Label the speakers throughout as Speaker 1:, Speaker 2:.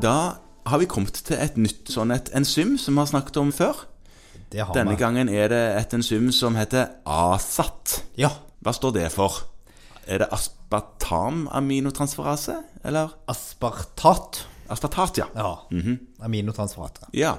Speaker 1: Da har vi kommet til et nytt sånn et enzym som vi har snakket om før.
Speaker 2: Det har
Speaker 1: Denne
Speaker 2: vi.
Speaker 1: gangen er det et enzym som heter ASAT.
Speaker 2: Ja.
Speaker 1: Hva står det for? Er det aspartam-aminotransferase? Eller
Speaker 2: Aspartat.
Speaker 1: aspartat, ja.
Speaker 2: Ja. Aminotransferater.
Speaker 1: ja.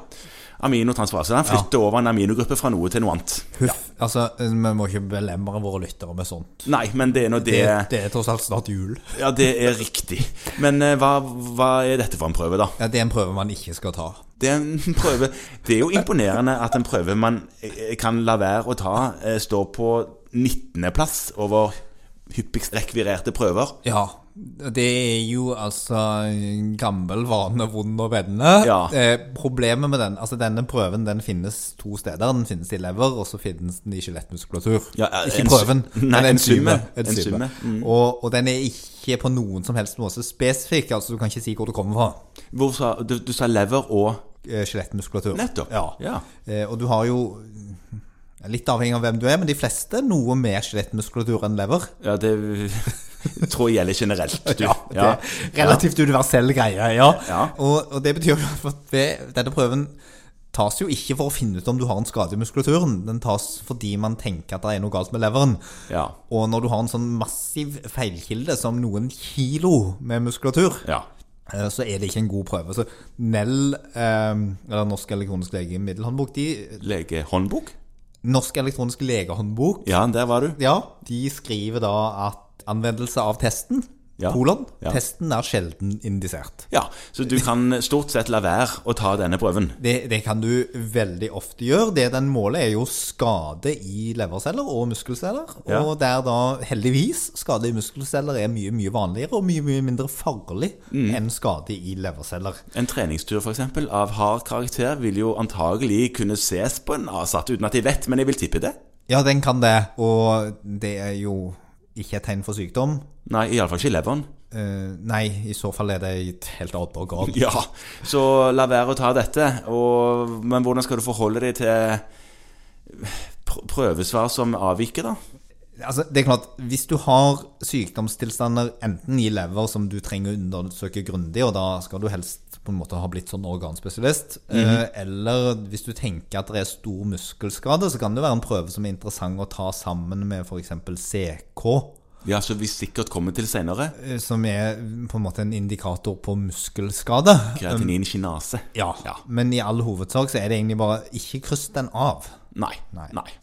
Speaker 1: Aminotransferase. Den flytter over en aminogruppe fra noe til noe annet.
Speaker 2: Huff. Altså, vi må ikke belemre våre lyttere med sånt.
Speaker 1: Nei, men det er nå det,
Speaker 2: Det, det er tross alt snart jul.
Speaker 1: Ja, det er riktig. Men eh, hva, hva er dette for en prøve, da?
Speaker 2: Ja, det er en prøve man ikke skal ta.
Speaker 1: Det er, en prøve. det er jo imponerende at en prøve man eh, kan la være å ta, eh, står på 19.-plass over hyppigst rekvirerte prøver.
Speaker 2: Ja. Det er jo altså en gammel vane, vond og vennene.
Speaker 1: Ja.
Speaker 2: Eh, problemet med den Altså, denne prøven den finnes to steder. Den finnes i lever, og så finnes den i skjelettmuskulatur.
Speaker 1: Ja, eh,
Speaker 2: ikke
Speaker 1: ens-
Speaker 2: prøven,
Speaker 1: nei,
Speaker 2: men enzymet.
Speaker 1: enzymet. Enzymet,
Speaker 2: Enzymet.
Speaker 1: mm.
Speaker 2: Og, og den er ikke på noen som helst måte spesifikk. Altså, du kan ikke si hvor det kommer fra.
Speaker 1: Hvor sa, du, du sa lever og
Speaker 2: Eh, Skjelettmuskulatur.
Speaker 1: Nettopp.
Speaker 2: Ja.
Speaker 1: Ja.
Speaker 2: Eh, og du har jo mm, Litt avhengig av hvem du er, men de fleste noe mer skjelettmuskulatur enn lever.
Speaker 1: Ja, det tror jeg gjelder generelt. Du.
Speaker 2: Ja, det er Relativt universell greie, ja.
Speaker 1: Ja.
Speaker 2: Og, og det betyr jo at ved, denne prøven tas jo ikke for å finne ut om du har en skade i muskulaturen. Den tas fordi man tenker at det er noe galt med leveren.
Speaker 1: Ja.
Speaker 2: Og når du har en sånn massiv feilkilde som noen kilo med muskulatur,
Speaker 1: Ja.
Speaker 2: eh, så er det ikke en god prøve. Så NEL, eh, eller Norsk elektronisk legemiddelhåndbok, de
Speaker 1: Legehåndbok?
Speaker 2: Norsk elektronisk legehåndbok
Speaker 1: Ja, der var du.
Speaker 2: ja, de skriver da at anvendelse av testen,
Speaker 1: Ja.
Speaker 2: kolon,
Speaker 1: Ja.
Speaker 2: testen er sjelden indisert.
Speaker 1: Ja, så du kan stort sett la være å ta denne prøven.
Speaker 2: Det, det kan du veldig ofte gjøre. Det den måler, er jo skade i leverceller og muskelceller.
Speaker 1: Ja.
Speaker 2: Og der da heldigvis skade i muskelceller er mye mye vanligere og mye mye mindre farlig
Speaker 1: Mm.
Speaker 2: enn skade i leverceller.
Speaker 1: En treningstur for eksempel, av hard karakter vil jo antagelig kunne ses på en avsatt, uten at jeg vet, men jeg vil tippe det.
Speaker 2: Ja, den kan det. Og det er jo ikke et tegn for sykdom.
Speaker 1: Nei, iallfall ikke i leveren.
Speaker 2: Eh, nei, i så fall er det i et helt annet organ.
Speaker 1: Ja, så la være å ta dette. Og, men hvordan skal du forholde deg til pr- prøvesvar som avviker, da?
Speaker 2: Altså, det er klart, Hvis du har sykdomstilstander enten i lever som du trenger å undersøke grundig, og da skal du helst på en måte ha blitt sånn organspesialist, eh, eller hvis du tenker at det er stor muskelskade, så kan det være en prøve som er interessant å ta sammen med f.eks. CK,
Speaker 1: Ja, som vi sikkert kommer til seinere.
Speaker 2: eh, som er på en måte en indikator på muskelskade.
Speaker 1: Kreatinin kinase.
Speaker 2: Ja, Men i all hovedsak så er det egentlig bare ikke kryss den av.
Speaker 1: Nei.
Speaker 2: Nei.
Speaker 1: Nei.